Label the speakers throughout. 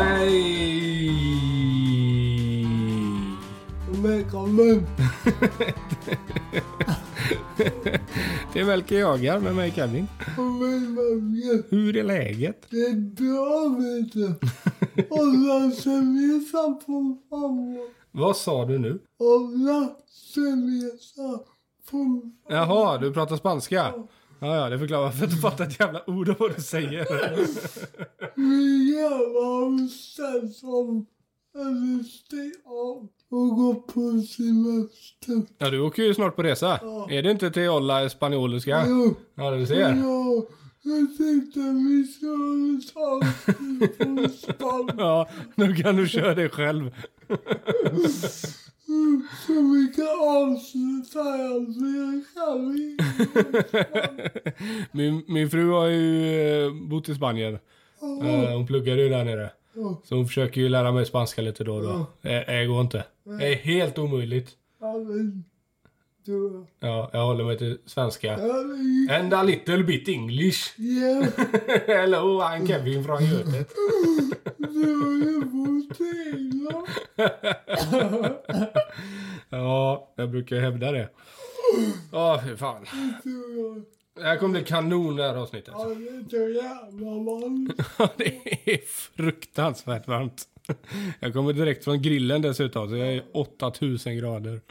Speaker 1: Hej!
Speaker 2: Välkommen!
Speaker 1: Det är Melker Jagar med mig Kevin.
Speaker 2: Och min mamma,
Speaker 1: Hur är läget?
Speaker 2: det är bra vet du. Och lassemisa på mamma.
Speaker 1: Vad sa du nu?
Speaker 2: Och lassemisa på...
Speaker 1: Jaha, du pratar spanska? Ja, ja, det förklarar varför jag inte fattar ett jävla ord av vad du säger.
Speaker 2: Vi jävla husen som är steg av och går på semester.
Speaker 1: Ja, du åker ju snart på resa. Är det inte till Olla Espanyoliska?
Speaker 2: Jo,
Speaker 1: Ja, du ser.
Speaker 2: ja, jag tänkte vi skulle ta oss till Spanien.
Speaker 1: Ja, nu kan du köra det själv.
Speaker 2: Så vi kan avsluta här, så jag kan inte.
Speaker 1: Min, min fru har ju eh, bott i Spanien. Eh, Hon pluggade ju där nere.
Speaker 2: Ja.
Speaker 1: Så hon försöker ju lära mig spanska lite då och då. Det, det går inte. Det är helt omöjligt.
Speaker 2: Ja, men, du,
Speaker 1: Ja, jag håller mig till svenska.
Speaker 2: ja, men,
Speaker 1: And a little bit English.
Speaker 2: ja,
Speaker 1: Hello, I'm Kevin från Götet.
Speaker 2: du har ju bott i England.
Speaker 1: Ja, jag brukar hävda det. Ja, fy fan.
Speaker 2: Du, ja.
Speaker 1: Det här kommer bli kanon det här avsnittet.
Speaker 2: Ja, det är så jävla varmt.
Speaker 1: Det är fruktansvärt varmt. Jag kommer direkt från grillen dessutom, så jag är 8000 grader.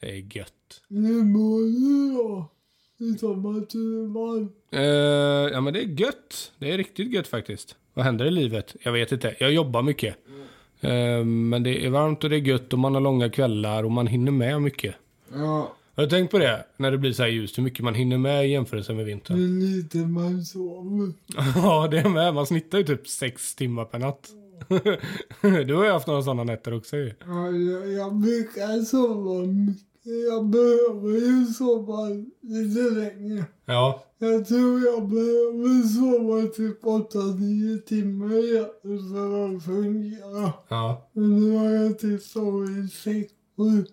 Speaker 1: Det är gött.
Speaker 2: Hur mår du då? I sommarturen?
Speaker 1: Eh, ja, men det är gött. Det är riktigt gött faktiskt. Vad händer i livet? Jag vet inte. Jag jobbar mycket. Eh, men det är varmt och det är gött och man har långa kvällar och man hinner med mycket.
Speaker 2: Ja.
Speaker 1: Har du tänkt på det? När det blir så här ljust, hur mycket man hinner med i jämförelse med
Speaker 2: Det är
Speaker 1: vintern?
Speaker 2: lite man sover.
Speaker 1: ja, det är med. Man snittar ju typ sex timmar per natt. du har ju haft några sådana nätter också ju.
Speaker 2: Ja, jag, jag brukar sova mycket. Jag behöver ju sova lite längre.
Speaker 1: Ja.
Speaker 2: Jag tror jag behöver sova typ 8-9 timmar igen för att fungera.
Speaker 1: Ja.
Speaker 2: Men nu har jag typ sovit 6 7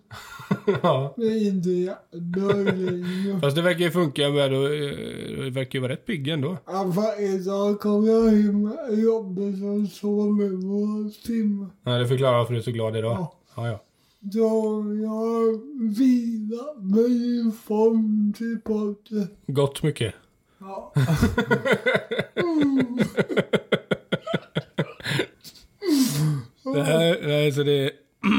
Speaker 1: ja.
Speaker 2: Det är inte jättebra längre.
Speaker 1: Fast det verkar ju funka med och eh, det verkar ju vara rätt pigg ändå.
Speaker 2: Ja, för idag kom jag hem med jobbet och sov en och en halv timme.
Speaker 1: Ja, det förklarar varför du är så glad idag.
Speaker 2: Ja.
Speaker 1: Ja, ja.
Speaker 2: Då jag vilar mig i form till podden.
Speaker 1: Gott mycket.
Speaker 2: Ja.
Speaker 1: Nej, nej så det,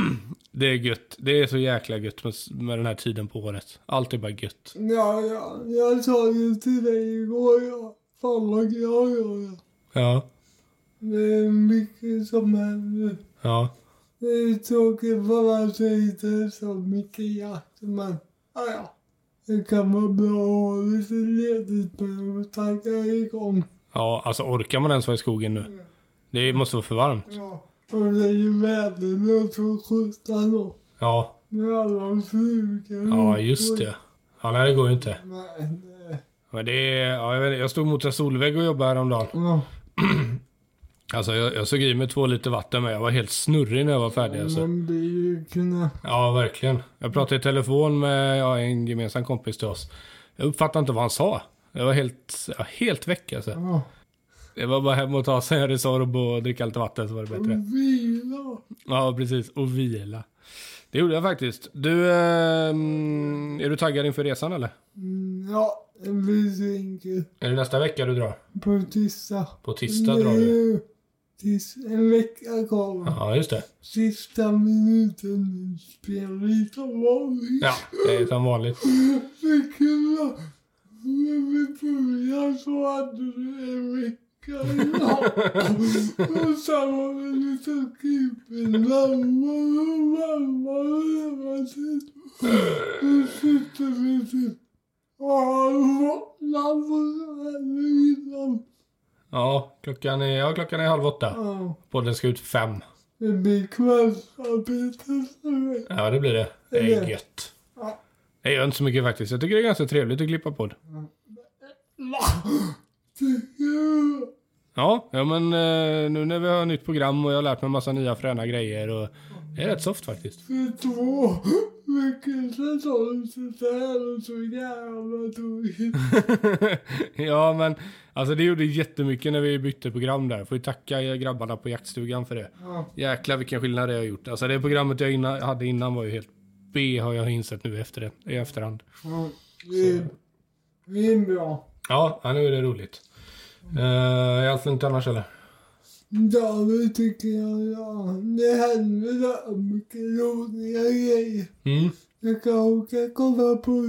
Speaker 1: det är gött. Det är så jäkla gött med, med den här tiden på året. Allt är bara gött.
Speaker 2: Ja, ja, jag sa ju till dig igår, ja. Fan vad glad jag är.
Speaker 1: Ja,
Speaker 2: Det är mycket som händer.
Speaker 1: ja,
Speaker 2: Det är Eh, tråkigt för att det inte är så mycket jakt, men ja, ja. Det kan vara bra att ha lite ledigt med att tagga igång.
Speaker 1: ja. Alltså orkar man ens vara i skogen nu? Det måste vara för varmt.
Speaker 2: Ja. Och det är ju väderlöst för sjutton då.
Speaker 1: Ja,
Speaker 2: Med alla flugor.
Speaker 1: ja just det. Ja, nej det går ju inte.
Speaker 2: Men, eh,
Speaker 1: Men det är, ja, jag, vet, inte, jag stod mot en solvägg och jobbade häromdagen.
Speaker 2: ja.
Speaker 1: Alltså jag, jag såg i mig två liter vatten men jag var helt snurrig när jag var färdig alltså.
Speaker 2: Man blir ju knäpp.
Speaker 1: Ja, verkligen. Jag pratade i telefon med ja, en gemensam kompis till oss. Jag uppfattade inte vad han sa. Jag var helt, ja, helt väck alltså.
Speaker 2: Ja.
Speaker 1: Det var bara hem och ta sig en Resorb och dricka lite vatten så var det bättre.
Speaker 2: Vila.
Speaker 1: Ja, precis. Och vila. Det gjorde jag faktiskt. Du, ehm, är du taggad inför resan eller?
Speaker 2: Mm, Ja, det blir så enkelt.
Speaker 1: Är det nästa vecka du drar?
Speaker 2: På tisdag.
Speaker 1: På tisdag drar du?
Speaker 2: Tis, en vecka kvar.
Speaker 1: Ja, just det.
Speaker 2: Sista minuten spelar lite vanligt.
Speaker 1: Ja, det är som vanligt.
Speaker 2: Det kul att när vi började så hade du en vecka innan. Och sen var det lite krypigt närmare och närmare hela tiden. Nu sitter vi typ och har våtnad på kvällen innan.
Speaker 1: Ja, klockan är, ja, klockan är halv åtta.
Speaker 2: Ja,
Speaker 1: Podden ska ut fem.
Speaker 2: Det blir kvällsarbete för mig.
Speaker 1: Ja, det blir det. Det är gött.
Speaker 2: Ja.
Speaker 1: Det gör inte så mycket faktiskt. Jag tycker det är ganska trevligt att klippa podd.
Speaker 2: Tycker du?
Speaker 1: Ja, ja men eh, nu när vi har nytt program och jag har lärt mig massa nya fräna grejer och det är rätt soft faktiskt.
Speaker 2: För två veckor sedan sa du sådär och så jävla tokigt.
Speaker 1: ja, men Alltså det gjorde jättemycket när vi bytte program där. Får ju tacka grabbarna på jaktstugan för det.
Speaker 2: Ja.
Speaker 1: Jäklar vilken skillnad det har gjort. Alltså det programmet jag inna, hade innan var ju helt B har jag insett nu efter det, i efterhand.
Speaker 2: Ja, det, det är bra.
Speaker 1: Ja, ja, nu är det roligt. Uh, är allt lugnt annars eller?
Speaker 2: David tycker jag, ja, det händer så mycket roliga grejer.
Speaker 1: Mm.
Speaker 2: Jag kanske kolla på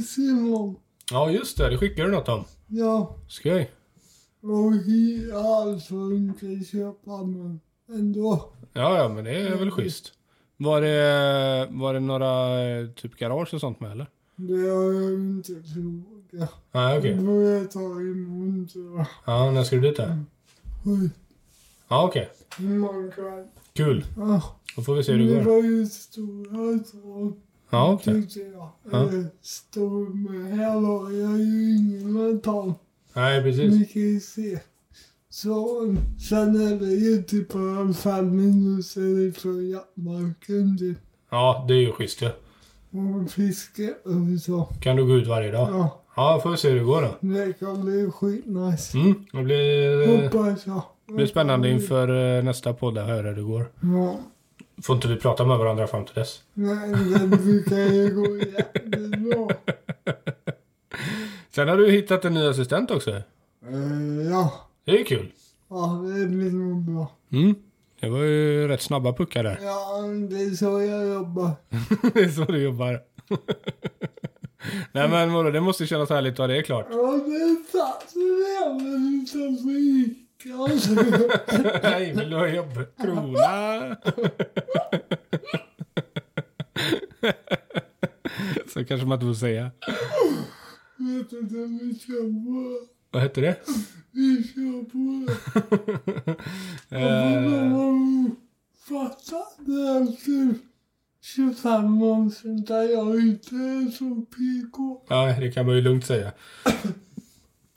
Speaker 2: is imorgon.
Speaker 1: Ja, just det. Det skickar du något om.
Speaker 2: Ja,
Speaker 1: Skoj.
Speaker 2: och hi- alltså inte köpa men ändå.
Speaker 1: Ja, ja, men det är väl schysst. Var det, var det några eh, typ garage och sånt med eller?
Speaker 2: Det har jag inte frågat.
Speaker 1: Nej, okej.
Speaker 2: Okay. Då får jag ta imorgon tror jag.
Speaker 1: Ja, när ska du dit då?
Speaker 2: Oj,
Speaker 1: Ja, okej.
Speaker 2: Imorgon kväll.
Speaker 1: Kul.
Speaker 2: Ja,
Speaker 1: Då får vi se hur
Speaker 2: det
Speaker 1: det går.
Speaker 2: var ju stora tag.
Speaker 1: Ja, okej.
Speaker 2: tyckte jag.
Speaker 1: Ja.
Speaker 2: Eh, Stor, men här var jag ju ingen mental.
Speaker 1: Nej, precis.
Speaker 2: Vi kan ju se. Så, sen är det ju typ bara fem minuter ifrån jaktmarken typ.
Speaker 1: Ja, det är ju schysst ju.
Speaker 2: Och fiske och så.
Speaker 1: Kan du gå ut varje dag?
Speaker 2: Ja,
Speaker 1: Ja, får vi se hur det går då.
Speaker 2: det kan bli skitnice.
Speaker 1: Mm, det blir,
Speaker 2: Hoppas jag.
Speaker 1: det blir spännande inför eh, nästa podd att höra hur det går.
Speaker 2: Ja.
Speaker 1: Får inte vi prata med varandra fram till dess?
Speaker 2: Men det brukar ju gå jättebra.
Speaker 1: Sen har du hittat en ny assistent också.
Speaker 2: Eh, Ja,
Speaker 1: Det är kul.
Speaker 2: ja det blir nog bra.
Speaker 1: Mm. Det var ju rätt snabba puckar där.
Speaker 2: Ja, det är så jag jobbar.
Speaker 1: det är så du jobbar. Nej men vadå, det måste kännas härligt att ha det klart.
Speaker 2: Ja, det satt jävligt utanför Ica. alltså.
Speaker 1: Nej, vill du ha jobbkrona? så kanske man inte får säga.
Speaker 2: Vet inte om vi kör på.
Speaker 1: Vad heter det?
Speaker 2: Vi kör på. Jag får
Speaker 1: Eh,
Speaker 2: bara fatta det efter 25 år sedan där jag inte är så PK.
Speaker 1: Nej, det kan man ju lugnt säga.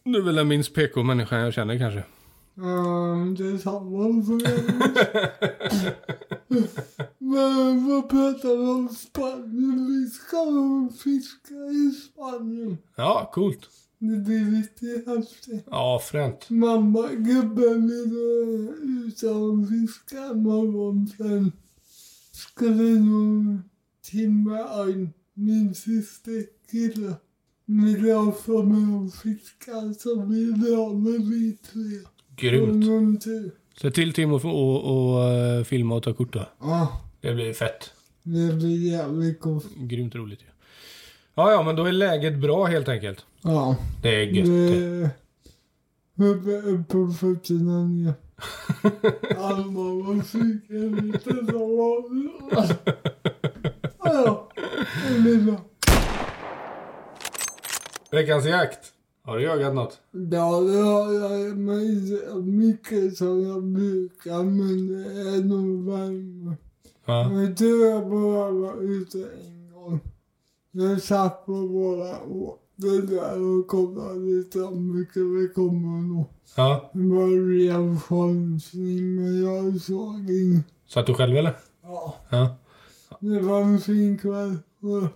Speaker 1: Du är väl den minst PK-människan jag känner kanske.
Speaker 2: Um, det är samma för er. Men vad pratar vi om Spanien? Vi ska fiska i Spanien.
Speaker 1: Ja, coolt.
Speaker 2: Det blir lite häftigt.
Speaker 1: Ja, fränt.
Speaker 2: Mamma, gubben vill eh, ut och fiska imorgon sen skulle nog Timmerein, min systerkille, vill ha för mig att fiska så vi drar med vi tre. Och
Speaker 1: Grymt.
Speaker 2: någon till.
Speaker 1: Se till Timo att och, och, eh, filma och ta kort då.
Speaker 2: Ja,
Speaker 1: Det blir fett.
Speaker 2: det blir jävligt gott.
Speaker 1: Grymt roligt ju. Ja, ja, men då är läget bra helt enkelt.
Speaker 2: Ja,
Speaker 1: Det är gött. det.
Speaker 2: det... Uppe, uppe på fötterna ner. Alma var sjuken lite som vanligt. Ja, det blir bra.
Speaker 1: Veckans jakt. Har du jagat något?
Speaker 2: Ja, det har jag men inte så mycket som jag brukar, men det är nog värme.
Speaker 1: Ja.
Speaker 2: Jag tror jag bara var ute en gång. Jag satt på våra åter där och kollade lite om vilka vi kommer nå.
Speaker 1: ja.
Speaker 2: Det var en ren chansning, men jag såg inget.
Speaker 1: Satt du själv eller?
Speaker 2: Ja.
Speaker 1: Ja.
Speaker 2: Det var en fin kväll. Och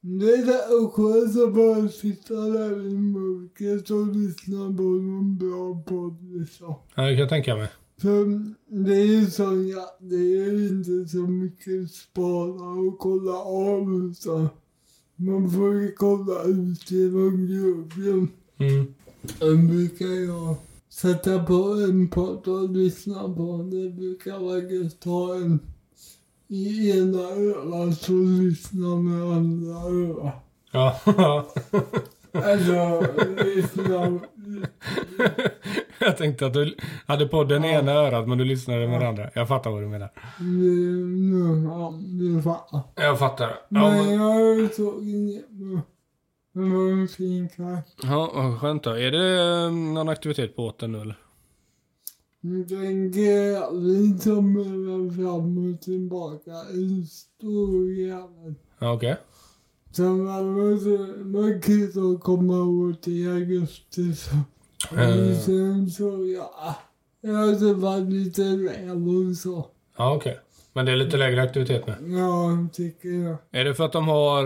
Speaker 2: Det är så skönt att bara sitta där i mörkret och lyssna på någon bra podd liksom.
Speaker 1: ja det kan jag tänka mig.
Speaker 2: För det är ju så, ja, det är ju inte så mycket spana och kolla av utan man får ju kolla ut genom gruppen.
Speaker 1: Mm.
Speaker 2: Sen brukar jag sätta på en podd och lyssna på den. Det brukar vara gött att ha en i ena örat och lyssna med andra örat.
Speaker 1: Ja. ja.
Speaker 2: Alltså, lyssna...
Speaker 1: jag tänkte att du hade podden i ena örat men du lyssnade med det andra. Jag fattar vad du menar.
Speaker 2: Nu, ja, du fattar.
Speaker 1: Jag fattar. Ja,
Speaker 2: Men
Speaker 1: men...
Speaker 2: jag såg inget nu. Det var en fin kväll.
Speaker 1: ja vad skönt då. Är det eh, någon aktivitet på åten nu eller?
Speaker 2: Jag tänker att vi tummelar fram och tillbaka en stor jävel.
Speaker 1: Ja, okej.
Speaker 2: Sen var det så mycket att komma åt i augusti. Så.
Speaker 1: Eh.
Speaker 2: Och sen så, ja. Jag träffade lite räv och så.
Speaker 1: Ja, okej. Men det är lite lägre aktivitet nu.
Speaker 2: Ja, tycker jag.
Speaker 1: Är det för att de har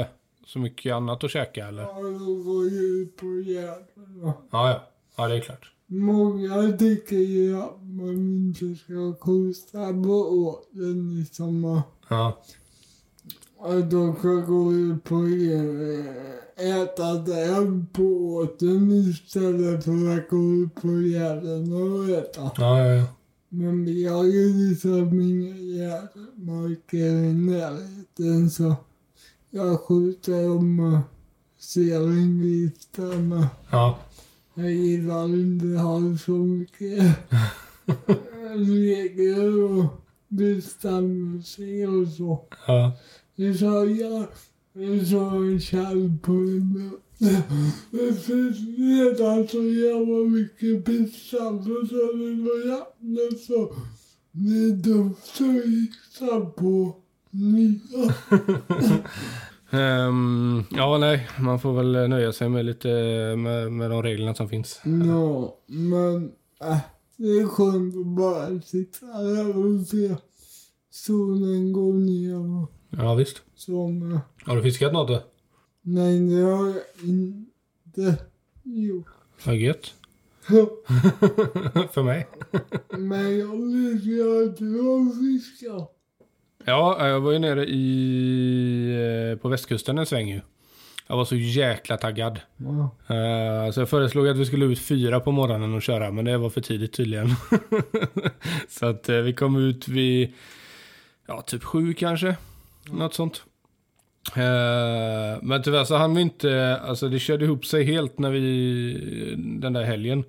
Speaker 1: eh, så mycket annat att käka eller?
Speaker 2: Ja, då går jag ut på Gärdet då.
Speaker 1: Ja, ja. Ja, det är klart.
Speaker 2: Många tycker ju att man inte ska kosta på åten i sommar.
Speaker 1: Ja.
Speaker 2: Att de ska gå ut på Gärdet, äta den på åten istället för att gå ut på Gärdet och äta.
Speaker 1: Ja, ja, ja.
Speaker 2: Men vi har ju liksom inga järnmarker i närheten så jag skjuter om och ser en gris där men
Speaker 1: Ja.
Speaker 2: jag gillar inte ha så mycket regler och bestämmelser och så.
Speaker 1: Ja.
Speaker 2: Det sa jag. Det sa en kärl på mig. Det finns redan så jävla mycket pinsamt och så det var jävla så. Det är dumt att gissa på nya.
Speaker 1: Ehm, ja, nej. Man får väl eh, nöja sig med lite eh, med, med de reglerna som finns.
Speaker 2: Ja, men äh, det är skönt att bara sitta här och se solen gå ner och
Speaker 1: Ja, visst.
Speaker 2: så med.
Speaker 1: Har du fiskat något då?
Speaker 2: Nej, det har jag inte gjort.
Speaker 1: Vad gött. För mig.
Speaker 2: Men jag vet ju att du har fiskat.
Speaker 1: Ja, jag var ju nere i, eh, på västkusten en sväng ju. Jag var så jäkla taggad.
Speaker 2: Ja.
Speaker 1: Eh, så jag föreslog att vi skulle ut fyra på morgonen och köra, men det var för tidigt tydligen. så att eh, vi kom ut vid, ja typ sju kanske. Något sånt. Eh, men tyvärr så hann vi inte, alltså det körde ihop sig helt när vi, den där helgen.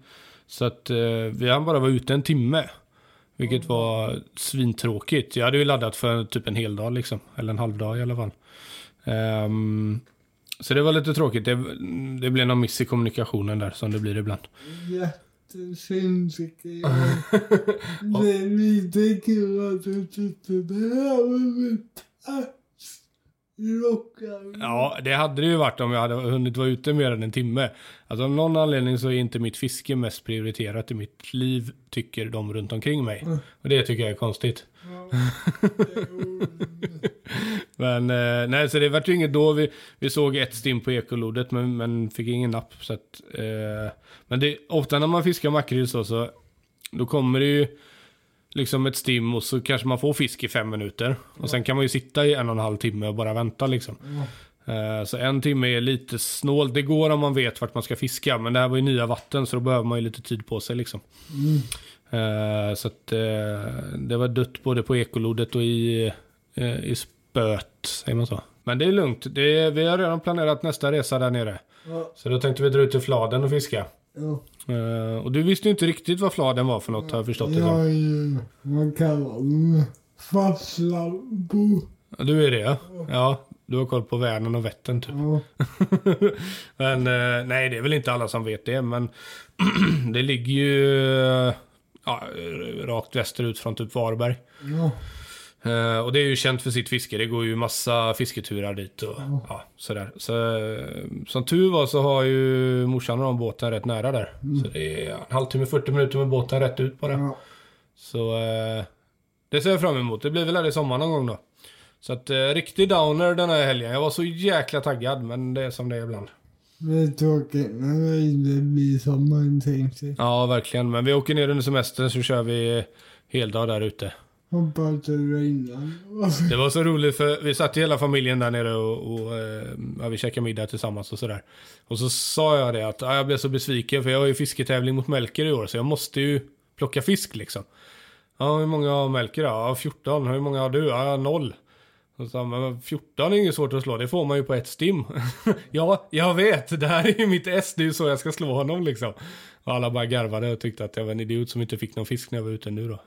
Speaker 1: Så att eh, vi hann bara vara ute en timme. Vilket var svintråkigt. Jag hade ju laddat för typ en hel dag liksom. Eller en halv dag i alla fall. Ehm, så det var lite tråkigt. Det, det blev någon miss i kommunikationen där som det blir ibland.
Speaker 2: Jättesynd tycker jag. Det är lite kul att du tyckte det här var mitt ass. Lockar.
Speaker 1: Ja, det hade det ju varit om jag hade hunnit vara ute mer än en timme. Alltså av någon anledning så är inte mitt fiske mest prioriterat i mitt liv, tycker de runt omkring mig.
Speaker 2: Mm.
Speaker 1: Och det tycker jag är konstigt.
Speaker 2: Ja, det är roligt.
Speaker 1: Men eh, nej, så det vart ju inget då. Vi, vi såg ett stim på ekolodet men, men fick ingen napp. Så att, eh, men det, ofta när man fiskar makrill så, så då kommer det ju liksom ett stim och så kanske man får fisk i fem minuter. Och sen kan man ju sitta i en och en halv timme och bara vänta liksom.
Speaker 2: Ja.
Speaker 1: Eh, Så en timme är lite snålt. Det går om man vet vart man ska fiska, men det här var ju nya vatten så då behöver man ju lite tid på sig liksom.
Speaker 2: Mm.
Speaker 1: Eh, Så att eh, det var dött både på ekolodet och i, eh, i spöet, säger man så. Men det är lugnt. Det är, vi har redan planerat nästa resa där nere.
Speaker 2: Ja,
Speaker 1: Så då tänkte vi dra ut till Fladen och fiska.
Speaker 2: ja.
Speaker 1: Eh, Och du visste ju inte riktigt vad Fladen var för något har jag förstått det
Speaker 2: Jag
Speaker 1: som.
Speaker 2: är ju, man kallar mig farslabo.
Speaker 1: Du är det ja. Ja, du har koll på Vänern och Vättern typ.
Speaker 2: Ja.
Speaker 1: men eh, nej, det är väl inte alla som vet det, men det ligger ju eh, ja, rakt västerut från typ Varberg.
Speaker 2: Ja.
Speaker 1: Eh, och det är ju känt för sitt fiske. Det går ju massa fisketurar dit och ja, sådär. Så, eh, som tur var så har ju morsan och de båten rätt nära där. Så det är en halvtimme, 40 minuter med båten rätt ut bara.
Speaker 2: ja.
Speaker 1: Så eh, det ser jag fram emot. Det blir väl här i sommar någon gång då. Så att eh, riktig downer den här helgen. Jag var så jäkla taggad, men det är som det är ibland.
Speaker 2: Det är tråkigt när det inte blir som man tänkt sig.
Speaker 1: Ja, verkligen. Men vi åker ner under semestern så kör vi heldag där ute.
Speaker 2: Hoppas du regnar.
Speaker 1: Det var så roligt för vi satt ju hela familjen där nere och, och eh, ja, vi käkade middag tillsammans och sådär. Och så sa jag det att ah, jag blev så besviken för jag har ju fisketävling mot Melker i år så jag måste ju plocka fisk liksom. Ja, hur många har Melker då? Ja, 14. Hur många har du? Ja, noll. Och så sa han, men 14 är inget svårt att slå, det får man ju på ett stim. ja, jag vet, det här är ju mitt S, det är ju så jag ska slå honom liksom. Och alla bara garvade och tyckte att jag var en idiot som inte fick någon fisk när jag var ute nu då.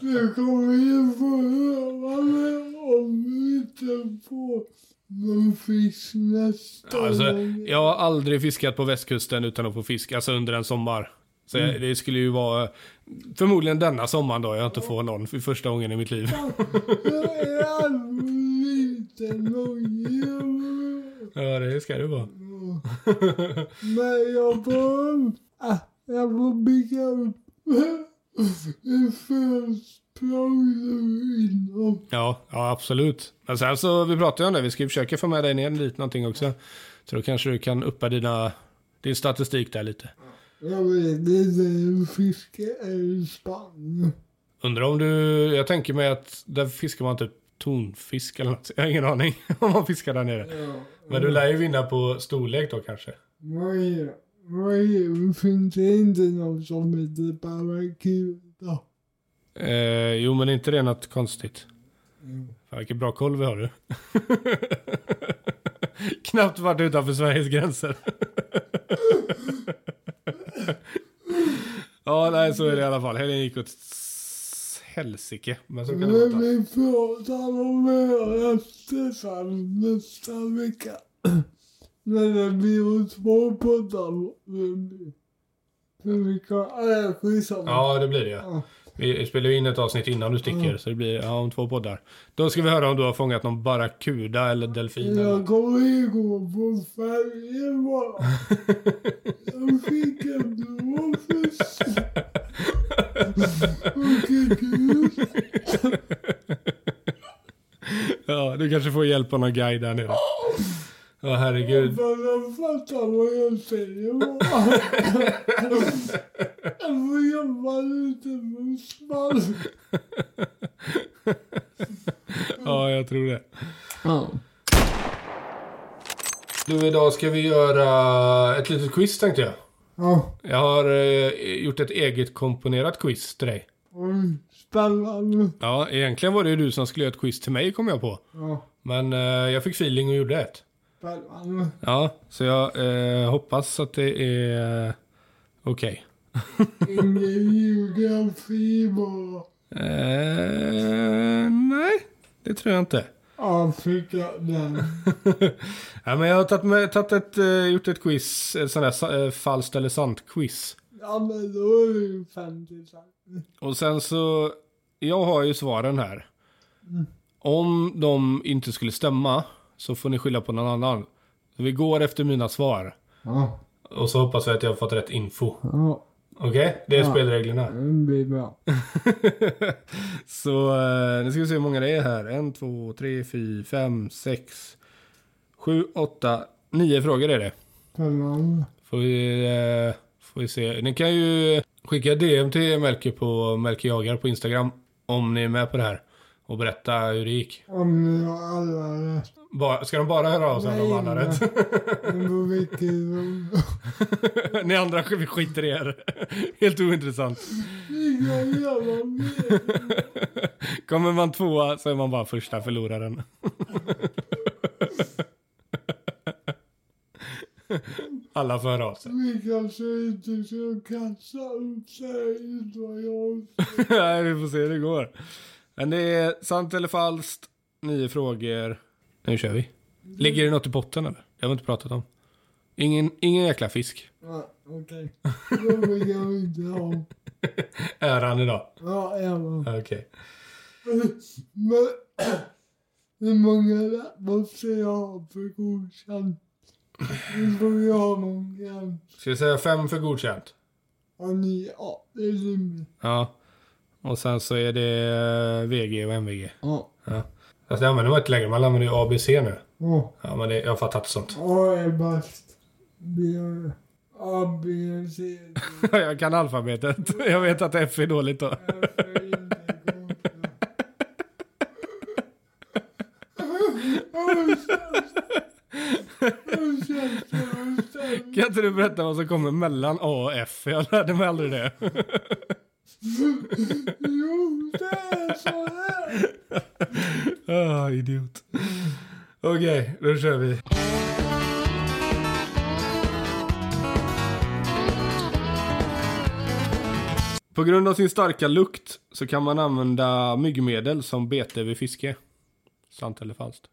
Speaker 2: Du kommer ju få höra mig om du inte får någon fisk nästa
Speaker 1: Alltså,
Speaker 2: gång.
Speaker 1: jag har aldrig fiskat på västkusten utan att få fisk, alltså under en sommar. Så jag- det skulle ju vara förmodligen denna sommaren då jag inte får någon för första gången i mitt liv.
Speaker 2: Jag är aldrig lite nojig över-
Speaker 1: Ja, det ska det vara.
Speaker 2: Men jag får... Ah, jag får bygga upp en födelsedag uppdrag du vill ha.
Speaker 1: Ja, ja absolut. Men sen så, vi pratade ju om det, vi ska ju försöka få med dig ner dit någonting också. Så då kanske du kan uppa dina, din statistik där lite.
Speaker 2: Jag vet inte hur fiske är i Spanien.
Speaker 1: Undrar om du, jag tänker mig att där fiskar man typ tonfisk eller något. Jag har ingen aning om man fiskar där nere.
Speaker 2: Ja.
Speaker 1: Men du lär ju vinna på storlek då kanske.
Speaker 2: Vad är Vad är Finns det inte någon som heter Barracuda?
Speaker 1: Eh, jo men är inte det något konstigt?
Speaker 2: Jo.
Speaker 1: Fan, vilken bra koll vi har du. Knappt varit utanför Sveriges gränser. ja, nej, så är det i alla fall. Helgen gick åt s- helsike. Men så kan det
Speaker 2: Men
Speaker 1: vara.
Speaker 2: vi pratar om Östersand nästa vecka. När det blir två poddar. För vi kan... Äh, skitsamma.
Speaker 1: Ja, det blir det ja.
Speaker 2: Ja.
Speaker 1: Vi spelar ju in ett avsnitt innan du sticker.
Speaker 2: Mm.
Speaker 1: Så det blir ja, om två poddar. Då ska vi höra om du har fångat någon barracuda eller delfin. eller
Speaker 2: Jag
Speaker 1: något.
Speaker 2: kommer ju gå på färger bara. Jag fick en blåfisk. Okej, gud.
Speaker 1: Ja, du kanske får hjälp av någon guide där nere. Ja, herregud.
Speaker 2: Men jag fattar vad jag säger bara. Jag får jobba lite med small.
Speaker 1: Ja, jag tror det.
Speaker 2: Ja.
Speaker 1: Du, idag ska vi göra ett litet quiz tänkte jag.
Speaker 2: Ja.
Speaker 1: Jag har eh, gjort ett eget komponerat quiz till dig.
Speaker 2: Oj, Spännande.
Speaker 1: Ja, egentligen var det ju du som skulle göra ett quiz till mig kom jag på.
Speaker 2: Ja.
Speaker 1: Men eh, jag fick feeling och gjorde ett.
Speaker 2: Spännande.
Speaker 1: Ja, så jag eh, hoppas att det är okej.
Speaker 2: Ingen geografi bara.
Speaker 1: Eh, nej, det tror jag inte.
Speaker 2: Afrika, den.
Speaker 1: ja, men jag har tagit med, tagit ett, eh, gjort ett quiz, ett sånt där sa- eh, falskt eller sant-quiz.
Speaker 2: Ja men då är det ju 50 cent.
Speaker 1: Och sen så, jag har ju svaren här.
Speaker 2: Mm.
Speaker 1: Om de inte skulle stämma så får ni skylla på någon annan. Så vi går efter mina svar.
Speaker 2: Ja.
Speaker 1: Och så hoppas jag att jag har fått rätt info.
Speaker 2: Ja,
Speaker 1: Okej? Det är
Speaker 2: Ja.
Speaker 1: spelreglerna.
Speaker 2: det blir bra.
Speaker 1: så eh, nu ska vi se hur många det är här. En, två, tre, fyra, fem, sex, sju, åtta, nio frågor är det.
Speaker 2: Spännande.
Speaker 1: Får vi, eh, får vi se. Ni kan ju skicka DM till Melker på Melker Jagar på Instagram om ni är med på det här. Och berätta hur det gick.
Speaker 2: Om ni har alla rätt.
Speaker 1: Bara, ska de bara höra av sig om de
Speaker 2: Nej,
Speaker 1: andra
Speaker 2: nej.
Speaker 1: rätt?
Speaker 2: Men på vilket rum?
Speaker 1: Ni andra vi skiter i er. Helt ointressant.
Speaker 2: Vilka jävla mer?
Speaker 1: Kommer man tvåa så är man bara första förloraren. Alla får höra av sig.
Speaker 2: Vilka som inte ska kasta upp sig inte vad jag
Speaker 1: Nej, vi får se hur det går. Men det är sant eller falskt. Nio frågor. Nu kör vi. Ligger det något i botten eller? Det har vi inte pratat om. Ingen, ingen jäkla fisk.
Speaker 2: Ja, Okej. Då vill jag inte ha.
Speaker 1: Äran idag.
Speaker 2: Ja, jävlar.
Speaker 1: Okej.
Speaker 2: Men hur många rätt måste jag ha för godkänt? Nu får jag ha någon gräns.
Speaker 1: Ska vi säga fem för godkänt?
Speaker 2: Och ni, ja, det är rimligt.
Speaker 1: Ja. Och sen så är det eh, VG och MVG.
Speaker 2: Ja.
Speaker 1: Fast det använder man inte längre. Man använder ju ABC nu.
Speaker 2: Ja.
Speaker 1: Ja, men det, jag fattar inte sånt.
Speaker 2: A är bäst. B är... A, B, C, D.
Speaker 1: jag kan alfabetet. Jag vet att F är dåligt då.
Speaker 2: F är inte godkänt. Hur känns det? Hur känns det? Hur känns det?
Speaker 1: Kan inte du berätta vad som kommer mellan A och F? Jag lärde mig aldrig det.
Speaker 2: Jo, det är så här.
Speaker 1: Ah, idiot. Okej, då kör vi. På grund av sin starka lukt så kan man använda myggmedel som bete vid fiske. Sant eller falskt?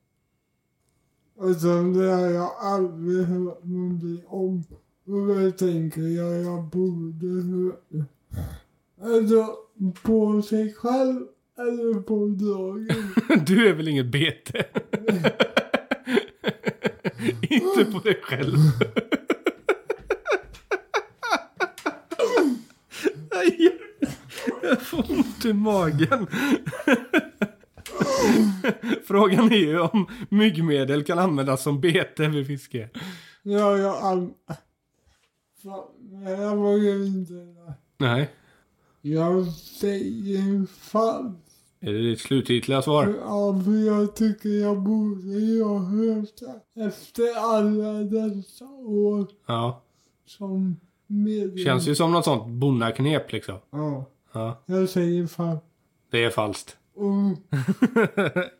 Speaker 2: Och sen det har jag aldrig hört någonting om. Och då tänker jag, jag borde hört det. Alltså, på sig själv eller på dragen.
Speaker 1: Du är väl inget bete? Inte på dig själv. Jag får ont i magen. Frågan är ju om myggmedel kan användas som bete vid fiske.
Speaker 2: Ja, jag an... Fan, det här var ju inte...
Speaker 1: Nej.
Speaker 2: Jag säger falskt.
Speaker 1: Är det ditt slutgiltiga svar?
Speaker 2: Ja, för jag tycker jag borde ju ha hört det. Efter alla dessa år
Speaker 1: Ja.
Speaker 2: som medlem.
Speaker 1: Känns ju som något sånt bonnaknep liksom.
Speaker 2: Ja,
Speaker 1: Ja.
Speaker 2: jag säger falskt.
Speaker 1: Det är falskt.
Speaker 2: Mm.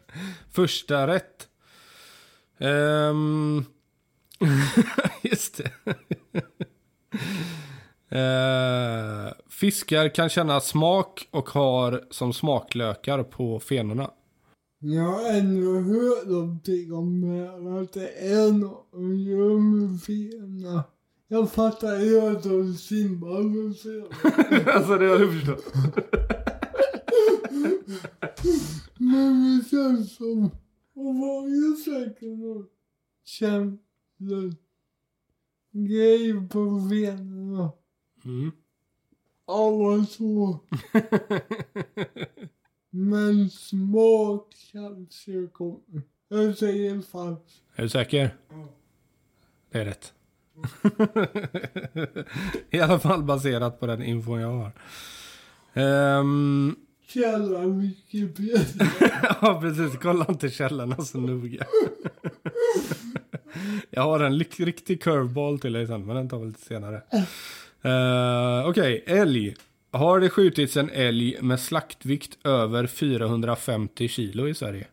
Speaker 1: Första rätt. Ehm, just det. Eh, fiskar kan känna smak och har som smaklökar på fenorna.
Speaker 2: Jag har ändå hört någonting om det här, att det är något som gör med fena. Jag fattar ju att de simmar med fena.
Speaker 1: alltså det har du förstått.
Speaker 2: Men det känns som att varje säkert något känslor. Grej på fenorna.
Speaker 1: Mm.
Speaker 2: Alla så. Men smak kanske kommer. Jag säger falskt.
Speaker 1: Är du säker?
Speaker 2: Ja.
Speaker 1: Det är rätt. I alla fall baserat på den info jag har. Ehm,
Speaker 2: Källa Wikipedia.
Speaker 1: Ja, precis. Kolla inte källorna så noga. Jag har en lik- riktig curveball till dig sen, men den tar vi lite senare. Uh, Okej, älg. Har det skjutits en älg med slaktvikt över 450 kilo i Sverige?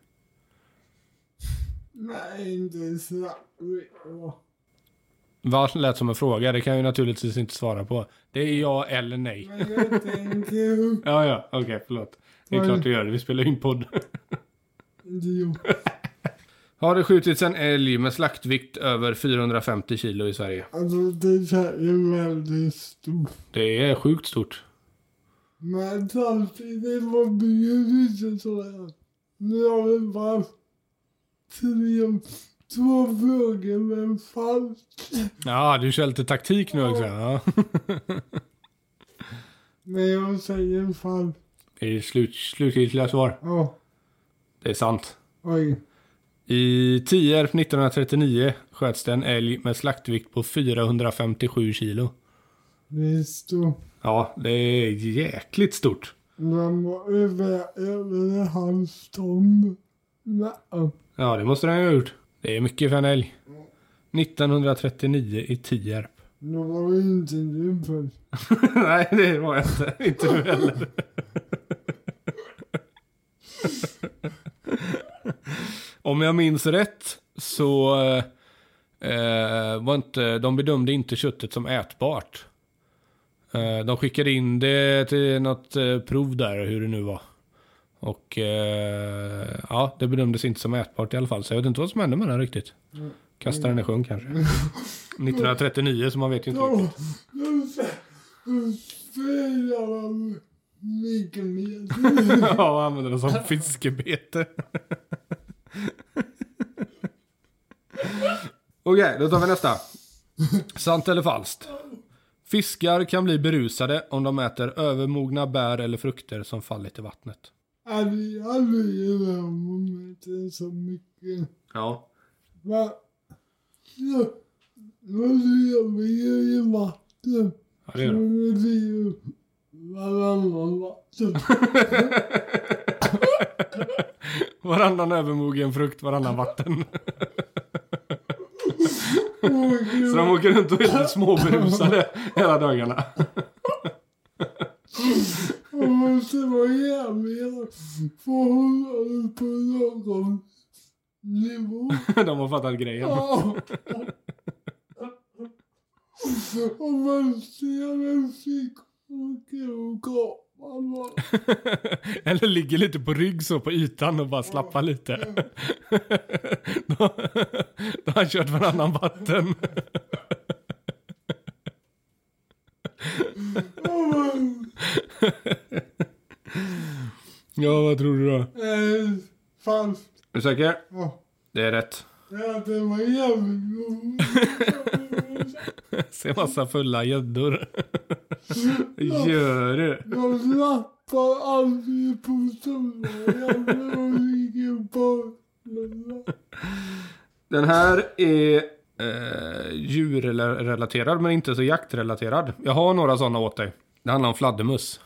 Speaker 2: Nej, inte snackvitt va?
Speaker 1: Va? Lät som en fråga. Det kan jag ju naturligtvis inte svara på. Det är ja eller nej.
Speaker 2: Men jag tänker
Speaker 1: Ja, ja. Okej, förlåt. Det är klart du gör det. Vi spelar in podd.
Speaker 2: idiot.
Speaker 1: Har det skjutits en älg med slaktvikt över 450 kilo i Sverige?
Speaker 2: Alltså det här är väldigt stort.
Speaker 1: Det är sjukt stort.
Speaker 2: Men samtidigt var det ju inte så här. Nu har vi bara tre, två frågor men falskt.
Speaker 1: Ja, du kör lite taktik nu också. Ja.
Speaker 2: Men jag säger falskt.
Speaker 1: Det är slut, slutgiltiga svar.
Speaker 2: Ja,
Speaker 1: Det är sant.
Speaker 2: oj.
Speaker 1: I Tierp 1939 sköts det en älg med slaktvikt på 457 kilo.
Speaker 2: Det är stort.
Speaker 1: Ja, det är jäkligt stort.
Speaker 2: Den var över, över en halv ton. Nej.
Speaker 1: Ja, det måste den ju ha gjort. Det är mycket för en älg. 1939 i Tierp.
Speaker 2: Då var det inte du först.
Speaker 1: Nej, det var jag inte. Inte du heller. Om jag minns rätt så eh, var inte, de bedömde inte köttet som ätbart. Eh, de skickade in det till något eh, prov där, hur det nu var. Och eh, ja, det bedömdes inte som ätbart i alla fall. Så jag vet inte vad som hände med den riktigt. Kastade den i sjön kanske. 1939, så man vet ju inte riktigt.
Speaker 2: Då, då, sä- då spelar man mycket mer.
Speaker 1: Ja, och använder den som fiskebete. Okej, då tar vi nästa. Sant eller falskt? Fiskar kan bli berusade om de äter övermogna bär eller frukter som fallit i vattnet.
Speaker 2: Jag gillar ju det här momentet så mycket.
Speaker 1: Ja.
Speaker 2: Va? Ja, då lever ju i vatten.
Speaker 1: ja det
Speaker 2: Så
Speaker 1: gör de.
Speaker 2: det blir ju varannan vatten.
Speaker 1: Varannan övermogen frukt, varannan vatten.
Speaker 2: Åh
Speaker 1: Så de
Speaker 2: gud.
Speaker 1: åker runt och är lite småberusade hela dagarna.
Speaker 2: Jag måste vara jävlig för att hålla det på någon nivå.
Speaker 1: De har fattat grejen.
Speaker 2: Ja. Om man ser en fickpojke och gapar bara.
Speaker 1: Eller ligger lite på rygg så på ytan och bara slappar lite. Då, då har han kört varannan vatten. Ja, vad tror du då?
Speaker 2: Eh, Falskt.
Speaker 1: Är du säker?
Speaker 2: Ja.
Speaker 1: Det är rätt.
Speaker 2: Ja, den var jävligt god.
Speaker 1: Ser massa fulla gäddor. Gör du?
Speaker 2: Jag slappar aldrig på somrarna. Jag ligger bara...
Speaker 1: Den här är eh, djurrelaterad men inte så jaktrelaterad. Jag har några sådana åt dig. Det handlar om fladdermus.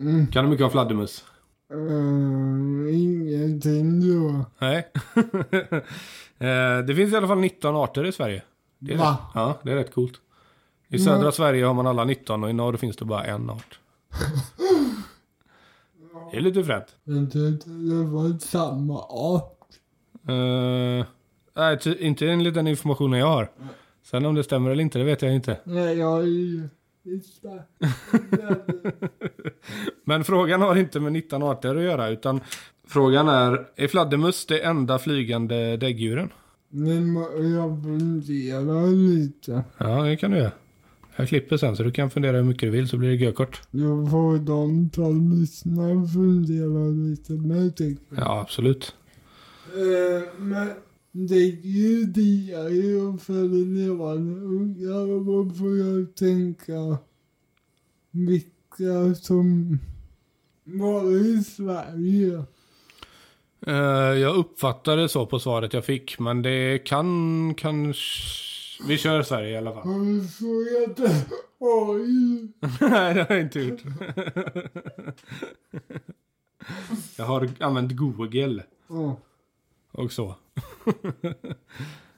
Speaker 2: Mm.
Speaker 1: Kan du mycket om fladdermus?
Speaker 2: Uh, ingenting då.
Speaker 1: Nej. eh, det finns i alla fall 19 arter i Sverige. Det är
Speaker 2: Va?
Speaker 1: rätt, ja, det är rätt coolt. I södra Sverige har man alla 19 och i norr finns det bara en art. Det är lite fränt.
Speaker 2: Jag tyckte det var samma art.
Speaker 1: Eh, nej, ty- inte enligt den informationen jag har. Sen om det stämmer eller inte, det vet jag inte.
Speaker 2: Nej, jag är ju... Gissa.
Speaker 1: Men frågan har inte med 19 arter att göra, utan frågan är, är fladdermus det enda flygande däggdjuren?
Speaker 2: Men jag funderar lite.
Speaker 1: Ja, det kan du göra. Jag klipper sen, så du kan fundera hur mycket du vill, så blir det gökort.
Speaker 2: Då får de som lyssnar fundera lite med tycker jag.
Speaker 1: Ja, absolut.
Speaker 2: Eh, Men däggdjur diar ju uppföder levande ungar och då får jag tänka vilka som var i Sverige.
Speaker 1: Eh, jag uppfattade så på svaret jag fick, men det kan kanske... Vi kör Sverige i alla fall.
Speaker 2: Har du frågat oh, AI?
Speaker 1: Nej, det har jag inte gjort. jag har använt Google
Speaker 2: Ja.
Speaker 1: och så.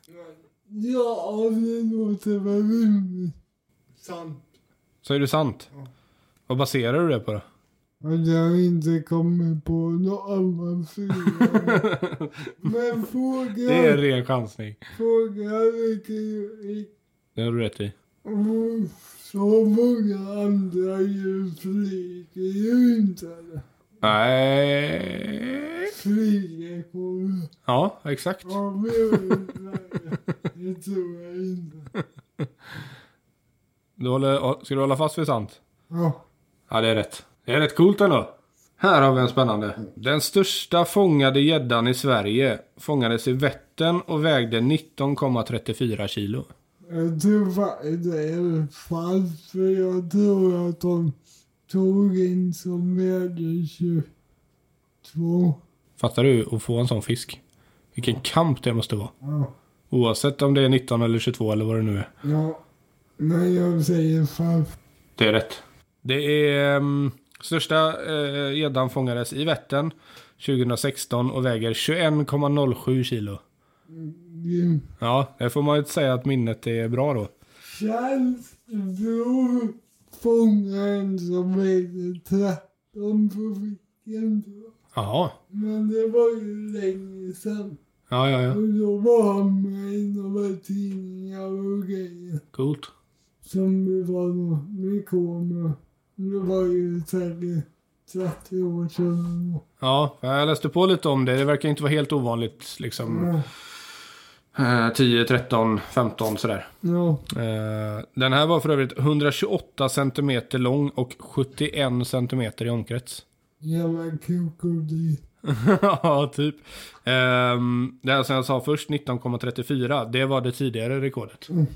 Speaker 2: Ja, det låter väl rimligt. Sant.
Speaker 1: Så är det sant?
Speaker 2: Ja.
Speaker 1: Vad baserar du det på då?
Speaker 2: Men jag har inte kommit på något annat fråga. Men
Speaker 1: Det är en
Speaker 2: fråga,
Speaker 1: ren chansning.
Speaker 2: fråga vilken vilken-
Speaker 1: Det har du rätt i.
Speaker 2: Mm, Så många andra djur flyger ju inte.
Speaker 1: Nej.
Speaker 2: Flyger kommer.
Speaker 1: Ja, exakt.
Speaker 2: Ja, men jag vet inte. Det tror jag inte.
Speaker 1: Du håller, ska du hålla fast vid sant?
Speaker 2: Ja.
Speaker 1: Ja, det är rätt. Det är rätt coolt ändå. Här har vi en spännande. Den största fångade gäddan i Sverige fångades i Vättern och vägde 19,34 kilo.
Speaker 2: Jag tror faktiskt det är falskt för jag tror att de tog in som vägde 22.
Speaker 1: Fattar du att få en sån fisk? Vilken kamp det måste vara.
Speaker 2: Ja.
Speaker 1: Oavsett om det är 19 eller 22 eller vad det nu är.
Speaker 2: ja. Men jag säger falskt.
Speaker 1: Det är rätt. Det är ehm, största eh, gäddan fångades i Vättern 2016 och väger 21,07 kilo.
Speaker 2: Grymt.
Speaker 1: Ja, det får man ju säga att minnet är bra då.
Speaker 2: Känns bror fångaren som vägde 13 på fickan då.
Speaker 1: Jaha.
Speaker 2: Men det var ju länge sedan.
Speaker 1: Ja, ja, ja.
Speaker 2: Och då var han med i några tidningar och grejer.
Speaker 1: Coolt.
Speaker 2: Som det var då vi kom. och Det var ju säkert 30 år sedan.
Speaker 1: Ja, jag läste på lite om det. Det verkar inte vara helt ovanligt liksom.
Speaker 2: Ja.
Speaker 1: Eh, 10, 13, 15 sådär.
Speaker 2: Ja.
Speaker 1: Eh, den här var för övrigt 128 centimeter lång och 71 centimeter i omkrets.
Speaker 2: Jävla krokodil.
Speaker 1: ja, typ. Ehm, det här som jag sa först, 19,34, det var det tidigare rekordet.
Speaker 2: Mm.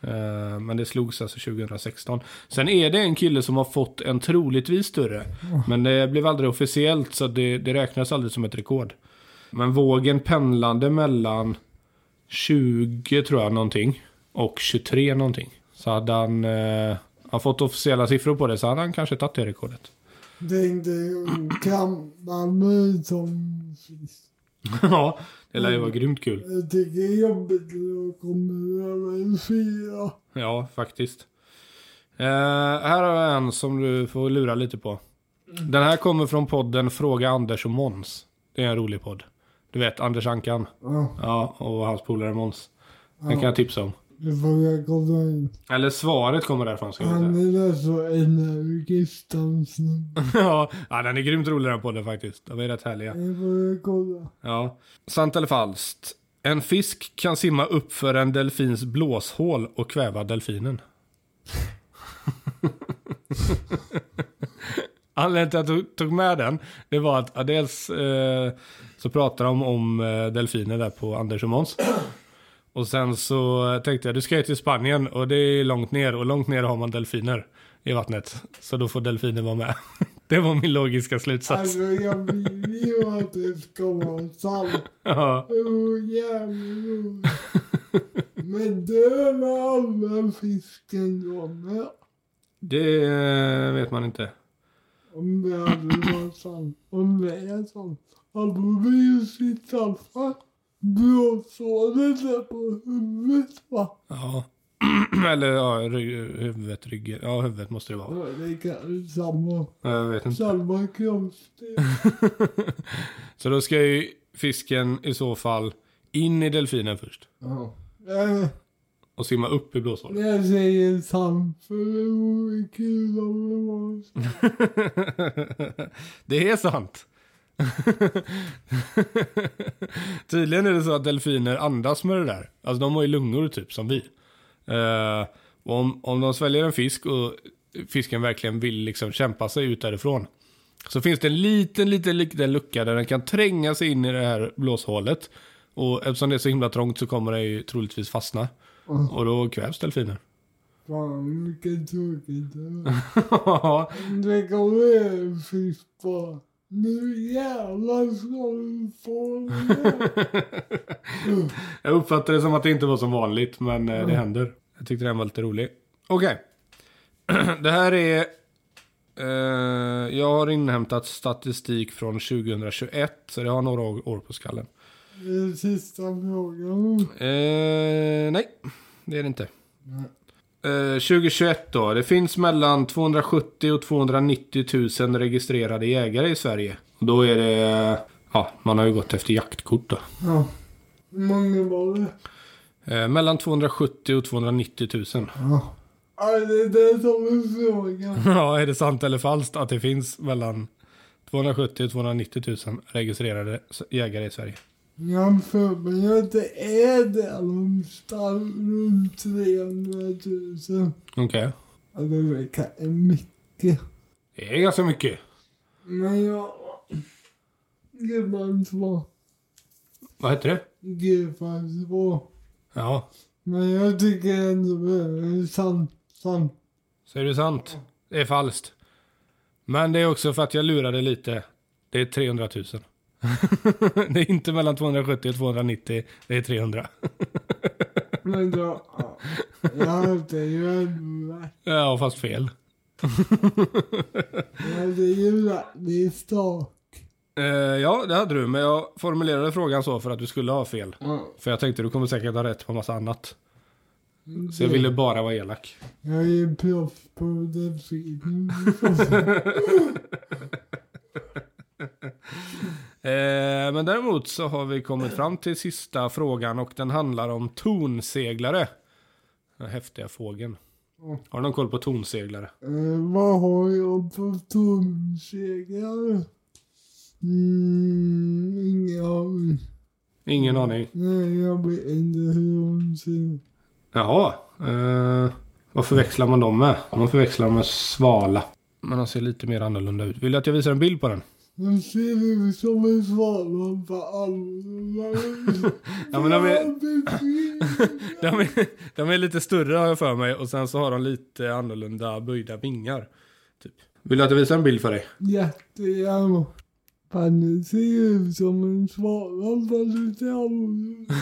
Speaker 1: Ehm, men det slogs alltså 2016. Sen är det en kille som har fått en troligtvis större. Men det blev aldrig officiellt, så det, det räknas aldrig som ett rekord. Men vågen pendlande mellan 20, tror jag, någonting och 23 någonting. Så hade han, eh, han fått officiella siffror på det så hade han kanske tagit det rekordet.
Speaker 2: Tänkte kampa mig som fisk.
Speaker 1: ja, det lär ju vara grymt kul.
Speaker 2: Jag tycker det är jobbigt när jag kommer över en fyra.
Speaker 1: Ja, faktiskt. Eh, här har jag en som du får lura lite på. Den här kommer från podden Fråga Anders och Måns. Det är en rolig podd. Du vet, Anders Ankan.
Speaker 2: Ja,
Speaker 1: Ja, och hans polare Måns. Den
Speaker 2: Ja.
Speaker 1: kan jag tipsa om.
Speaker 2: det får jag kolla in.
Speaker 1: Eller svaret kommer därifrån ska jag
Speaker 2: Han
Speaker 1: säga.
Speaker 2: är där så energisk han snubben.
Speaker 1: ja, ja, den är grymt rolig den podden faktiskt. De är rätt härliga.
Speaker 2: Det får jag kolla.
Speaker 1: Ja. Sant eller falskt? En fisk kan simma upp för en delfins blåshål och kväva delfinen. Anledningen till att jag tog med den, det var att ja, dels eh, så pratade de om eh, delfiner där på Anders och Måns. Och sen så tänkte jag, du ska ju till Spanien och det är långt ner och långt ner har man delfiner i vattnet. Så då får delfiner vara med. Det var min logiska slutsats.
Speaker 2: Alltså jag vill ju att det ska vara sant.
Speaker 1: Ja.
Speaker 2: Åh jävlar. Men dör alla fisken då med?
Speaker 1: Det eh, vet man inte.
Speaker 2: Om det hade varit sant. Om det är sant. Hade vi ju sitta fast. Blåsåret där på huvudet va?
Speaker 1: Ja. Eller ja, rygg- huvudet, ryggen. Ja, huvudet måste det vara.
Speaker 2: Ja, Det är kanske samma,
Speaker 1: Jag vet inte.
Speaker 2: samma kroppsdel.
Speaker 1: Så då ska ju fisken i så fall in i delfinen först.
Speaker 2: Ja. Eh,
Speaker 1: Och simma upp i blåsåret.
Speaker 2: Jag säger sant för det vore kul om det var sant.
Speaker 1: det är sant. Tydligen är det så att delfiner andas med det där. Alltså de har ju lungor typ som vi. Eh, och om, om de sväljer en fisk och fisken verkligen vill liksom kämpa sig ut därifrån. Så finns det en liten, liten, liten lucka där den kan tränga sig in i det här blåshålet. Och eftersom det är så himla trångt så kommer den ju troligtvis fastna. Och då kvävs delfiner.
Speaker 2: Fan vilket tråkigt det var. Det kommer en fisk bara. Nu jävlar ska du få den här."
Speaker 1: Jag uppfattar det som att det inte var som vanligt, men eh, det händer. Jag tyckte den var lite rolig. Okej. det här är... Eh, jag har inhämtat statistik från 2021, så det har några år år på skallen.
Speaker 2: Det är sista frågan.
Speaker 1: Eh, nej, det är det inte.
Speaker 2: Nej.
Speaker 1: Eh, 2021 då. Det finns mellan 270 000 och 290 000 registrerade jägare i Sverige. Och då är det... eh, Ja, man har ju gått efter jaktkort då.
Speaker 2: Ja. Hur många var det?
Speaker 1: Eh, mellan 270 000 och 290 000.
Speaker 2: Ja. Ja, det är det som är frågan.
Speaker 1: Ja, är det sant eller falskt att det finns mellan 270 000 och 290 000 registrerade s- jägare i Sverige?
Speaker 2: Jag har för mig att det är där någonstans runt 300 000.
Speaker 1: Okej.
Speaker 2: Ja, det verkar mycket.
Speaker 1: Det är ganska mycket.
Speaker 2: Men jag... Gubben 2.
Speaker 1: Vad heter det?
Speaker 2: Gubben 2.
Speaker 1: Ja,
Speaker 2: Men jag tycker ändå det är sant. sant.
Speaker 1: så är det sant. Det är falskt. Men det är också för att jag lurade lite. Det är 300 000. det är inte mellan 270 och 290, det är 300.
Speaker 2: Men då... ja. Jag hade ju ändå rätt.
Speaker 1: Ja, fast fel.
Speaker 2: Jag hade ju rätt i sak.
Speaker 1: Eh, ja, det hade du, men jag formulerade frågan så för att du skulle ha fel.
Speaker 2: Ja.
Speaker 1: För jag tänkte du kommer säkert ha rätt på massa annat. Så jag ville bara vara elak.
Speaker 2: Jag är ju proffs på delfiner.
Speaker 1: Eh, men däremot så har vi kommit fram till sista frågan och den handlar om tonseglare. Den häftiga fågeln.
Speaker 2: Mm.
Speaker 1: Har du någon koll på tonseglare?
Speaker 2: Eh, vad har jag för tumsegrar? Mm, ingen aning.
Speaker 1: Ingen aning.
Speaker 2: Nej, jag vet inte hur hon ser ut.
Speaker 1: Jaha. Eh, vad förväxlar man dem med? Man förväxlar dem med svala. Men de ser lite mer annorlunda ut. Vill du att jag visar en bild på den?
Speaker 2: Hon ser ut som en svala för alla.
Speaker 1: Ja, men de är,
Speaker 2: är...
Speaker 1: de, är, de är lite större har jag för mig och sen så har de lite annorlunda böjda vingar. Typ. Vill du att jag visar en bild för dig?
Speaker 2: Jättegärna. Fan, du ser ju ut som en svala fast lite annorlunda.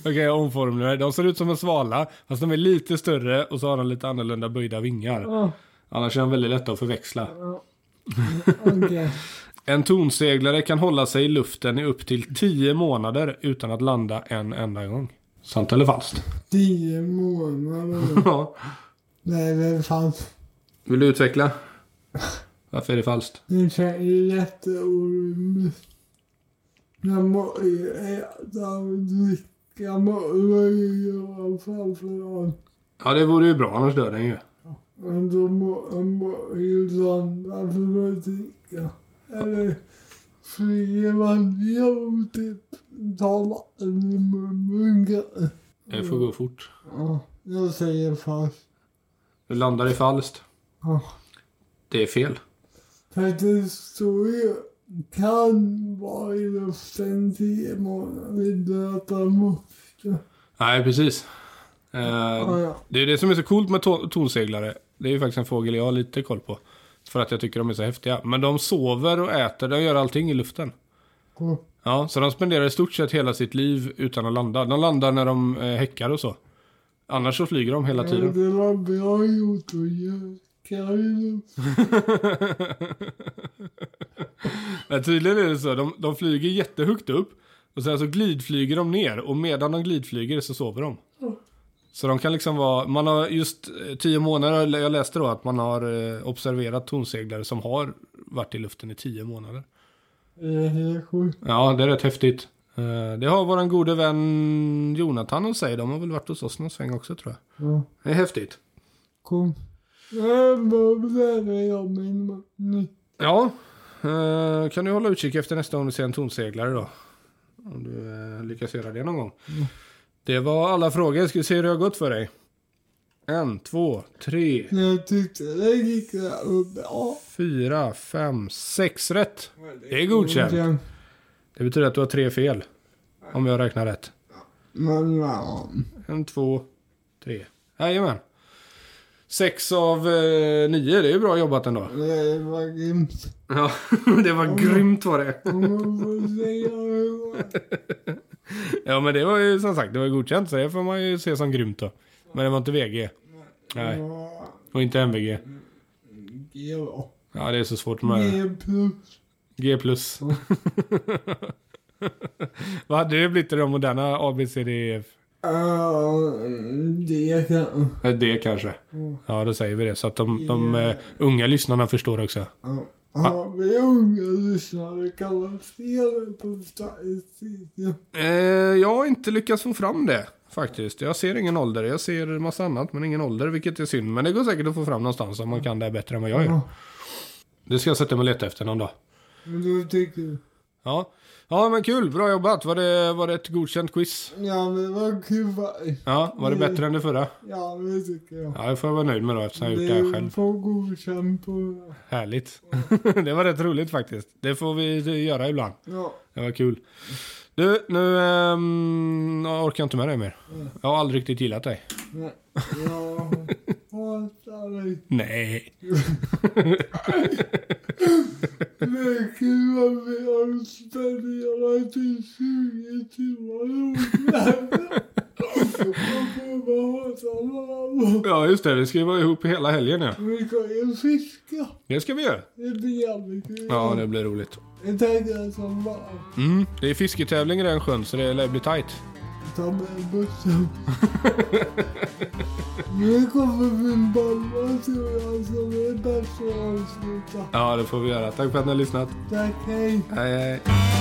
Speaker 1: Okej, jag omformulerar. De ser ut som en svala, fast de är lite större och så har de lite annorlunda böjda vingar.
Speaker 2: Ja,
Speaker 1: Annars är de väldigt lätta att förväxla.
Speaker 2: Ah, ja. Okej.
Speaker 1: En tonseglare kan hålla sig i luften i upp till 10 månader utan att landa en enda gång. Sant eller falskt?
Speaker 2: Tio månader.
Speaker 1: Ja.
Speaker 2: Nej, det fanns.
Speaker 1: Vill du utveckla? Varför är det falskt?
Speaker 2: Det känns jätteorimligt. Jag mår ju äta och dricka. Mår ju göra framför allt.
Speaker 1: Ja, det vore ju bra, annars dör den ju.
Speaker 2: Men då må jag må ju landa för att dricka. Eller flyger man ner och typ tar vatten i munnen.
Speaker 1: Det får gå fort.
Speaker 2: Ja, jag säger fast.
Speaker 1: Du landar i falskt.
Speaker 2: Ja.
Speaker 1: Det är fel.
Speaker 2: För det står ju kan vara i luften tio månader döda måste.
Speaker 1: Nej, precis. Eh,
Speaker 2: Ja, ja.
Speaker 1: Det är det som är så coolt med to- tonseglare. Det är ju faktiskt en fågel jag har lite koll på. För att jag tycker de är så häftiga. Men de sover och äter, de gör allting i luften.
Speaker 2: Och-
Speaker 1: Ja, så de spenderar i stort sett hela sitt liv utan att landa. De landar när de eh, häckar och så. Annars så flyger de hela
Speaker 2: Ja,
Speaker 1: tiden.
Speaker 2: det var bra gjort att göra det.
Speaker 1: Men tydligen är det så, de, de flyger jättehögt upp. Och sen så glidflyger de ner. Och medan de glidflyger så sover de.
Speaker 2: Ja.
Speaker 1: Så de kan liksom vara, man har just eh, tio månader, jag läste då att man har eh, observerat tonseglare som har varit i luften i tio månader.
Speaker 2: Det är helt sjukt.
Speaker 1: Ja, det är rätt häftigt. Eh, Det har våran gode vän Jonathan och sig. De har väl varit hos oss någon sväng också tror jag.
Speaker 2: Ja,
Speaker 1: Det är häftigt.
Speaker 2: kom. Jag bubblade jag min man.
Speaker 1: Ja, eh, kan du hålla utkik efter nästa gång du ser en tonseglare då? Om du eh, lyckas göra det någon gång. Det var alla frågor. Ska vi se hur det har gått för dig? En, två, tre,
Speaker 2: Jag tyckte det gick där bra.
Speaker 1: fyra, fem, sex rätt. Det är godkänt. Det betyder att du har tre fel. Om jag räknar rätt.
Speaker 2: Men ja.
Speaker 1: En, två, tre. Jajamän. Sex av eh, nio, det är ju bra jobbat ändå.
Speaker 2: Det var grymt.
Speaker 1: Ja, det var grymt var det.
Speaker 2: Om man får säga det.
Speaker 1: Ja, men det var ju som sagt, det var ju godkänt så det får man ju se som grymt då. Men det var inte VG. Nej,
Speaker 2: Ja,
Speaker 1: och inte MVG.
Speaker 2: det var-
Speaker 1: Ja, det är så svårt
Speaker 2: Det
Speaker 1: med
Speaker 2: är plus.
Speaker 1: G+. plus. Vad hade det blivit i de moderna A, B, C, D, E, F?
Speaker 2: Ja, det kan...
Speaker 1: Eh, D kanske.
Speaker 2: Ja.
Speaker 1: Ja, då säger vi det. Så att de, de eh, unga lyssnarna förstår också.
Speaker 2: Ja, ja, vi unga lyssnare kan vara fel på statistiken.
Speaker 1: Eh, jag har inte lyckats få fram det faktiskt. Jag ser ingen ålder. Jag ser massa annat men ingen ålder vilket är synd. Men det går säkert att få fram någonstans om man kan det här bättre än vad jag gör.
Speaker 2: Ja,
Speaker 1: Det ska jag sätta mig och leta efter någon dag.
Speaker 2: men då tycker jag...
Speaker 1: Ja, ja men kul. Bra jobbat. Var det, var det ett godkänt quiz?
Speaker 2: Ja, men vad kul faktiskt.
Speaker 1: Ja, var det bättre än det förra?
Speaker 2: Ja, det tycker jag.
Speaker 1: Ja, det får jag vara nöjd med då eftersom jag har gjort det här själv.
Speaker 2: får godkänt på...
Speaker 1: Härligt. det var rätt roligt faktiskt. Det får vi göra ibland.
Speaker 2: Ja,
Speaker 1: Det var kul. Du, nu ehm, jag orkar jag inte med dig mer. Jag har aldrig riktigt gillat dig.
Speaker 2: nej. Jag hatar dig.
Speaker 1: Nej.
Speaker 2: Det är kul att vi har spenderat i 20 timmar ihop. Jag kommer hata varandra.
Speaker 1: Ja, just det. Vi ska ju vara ihop hela helgen ja.
Speaker 2: Vi kan ju fiska.
Speaker 1: Det ska vi göra.
Speaker 2: Det blir jävligt kul.
Speaker 1: Ja, det blir roligt.
Speaker 2: Jag tänkte som bara
Speaker 1: Mm, det är fisketävling i den sjön så det lär bli tajt.
Speaker 2: ta med bussen. nu kommer min mamma tror jag som är bäst att avsluta.
Speaker 1: Ja, det får vi göra. Tack för att ni har lyssnat.
Speaker 2: Tack, hej.
Speaker 1: Hej, hej.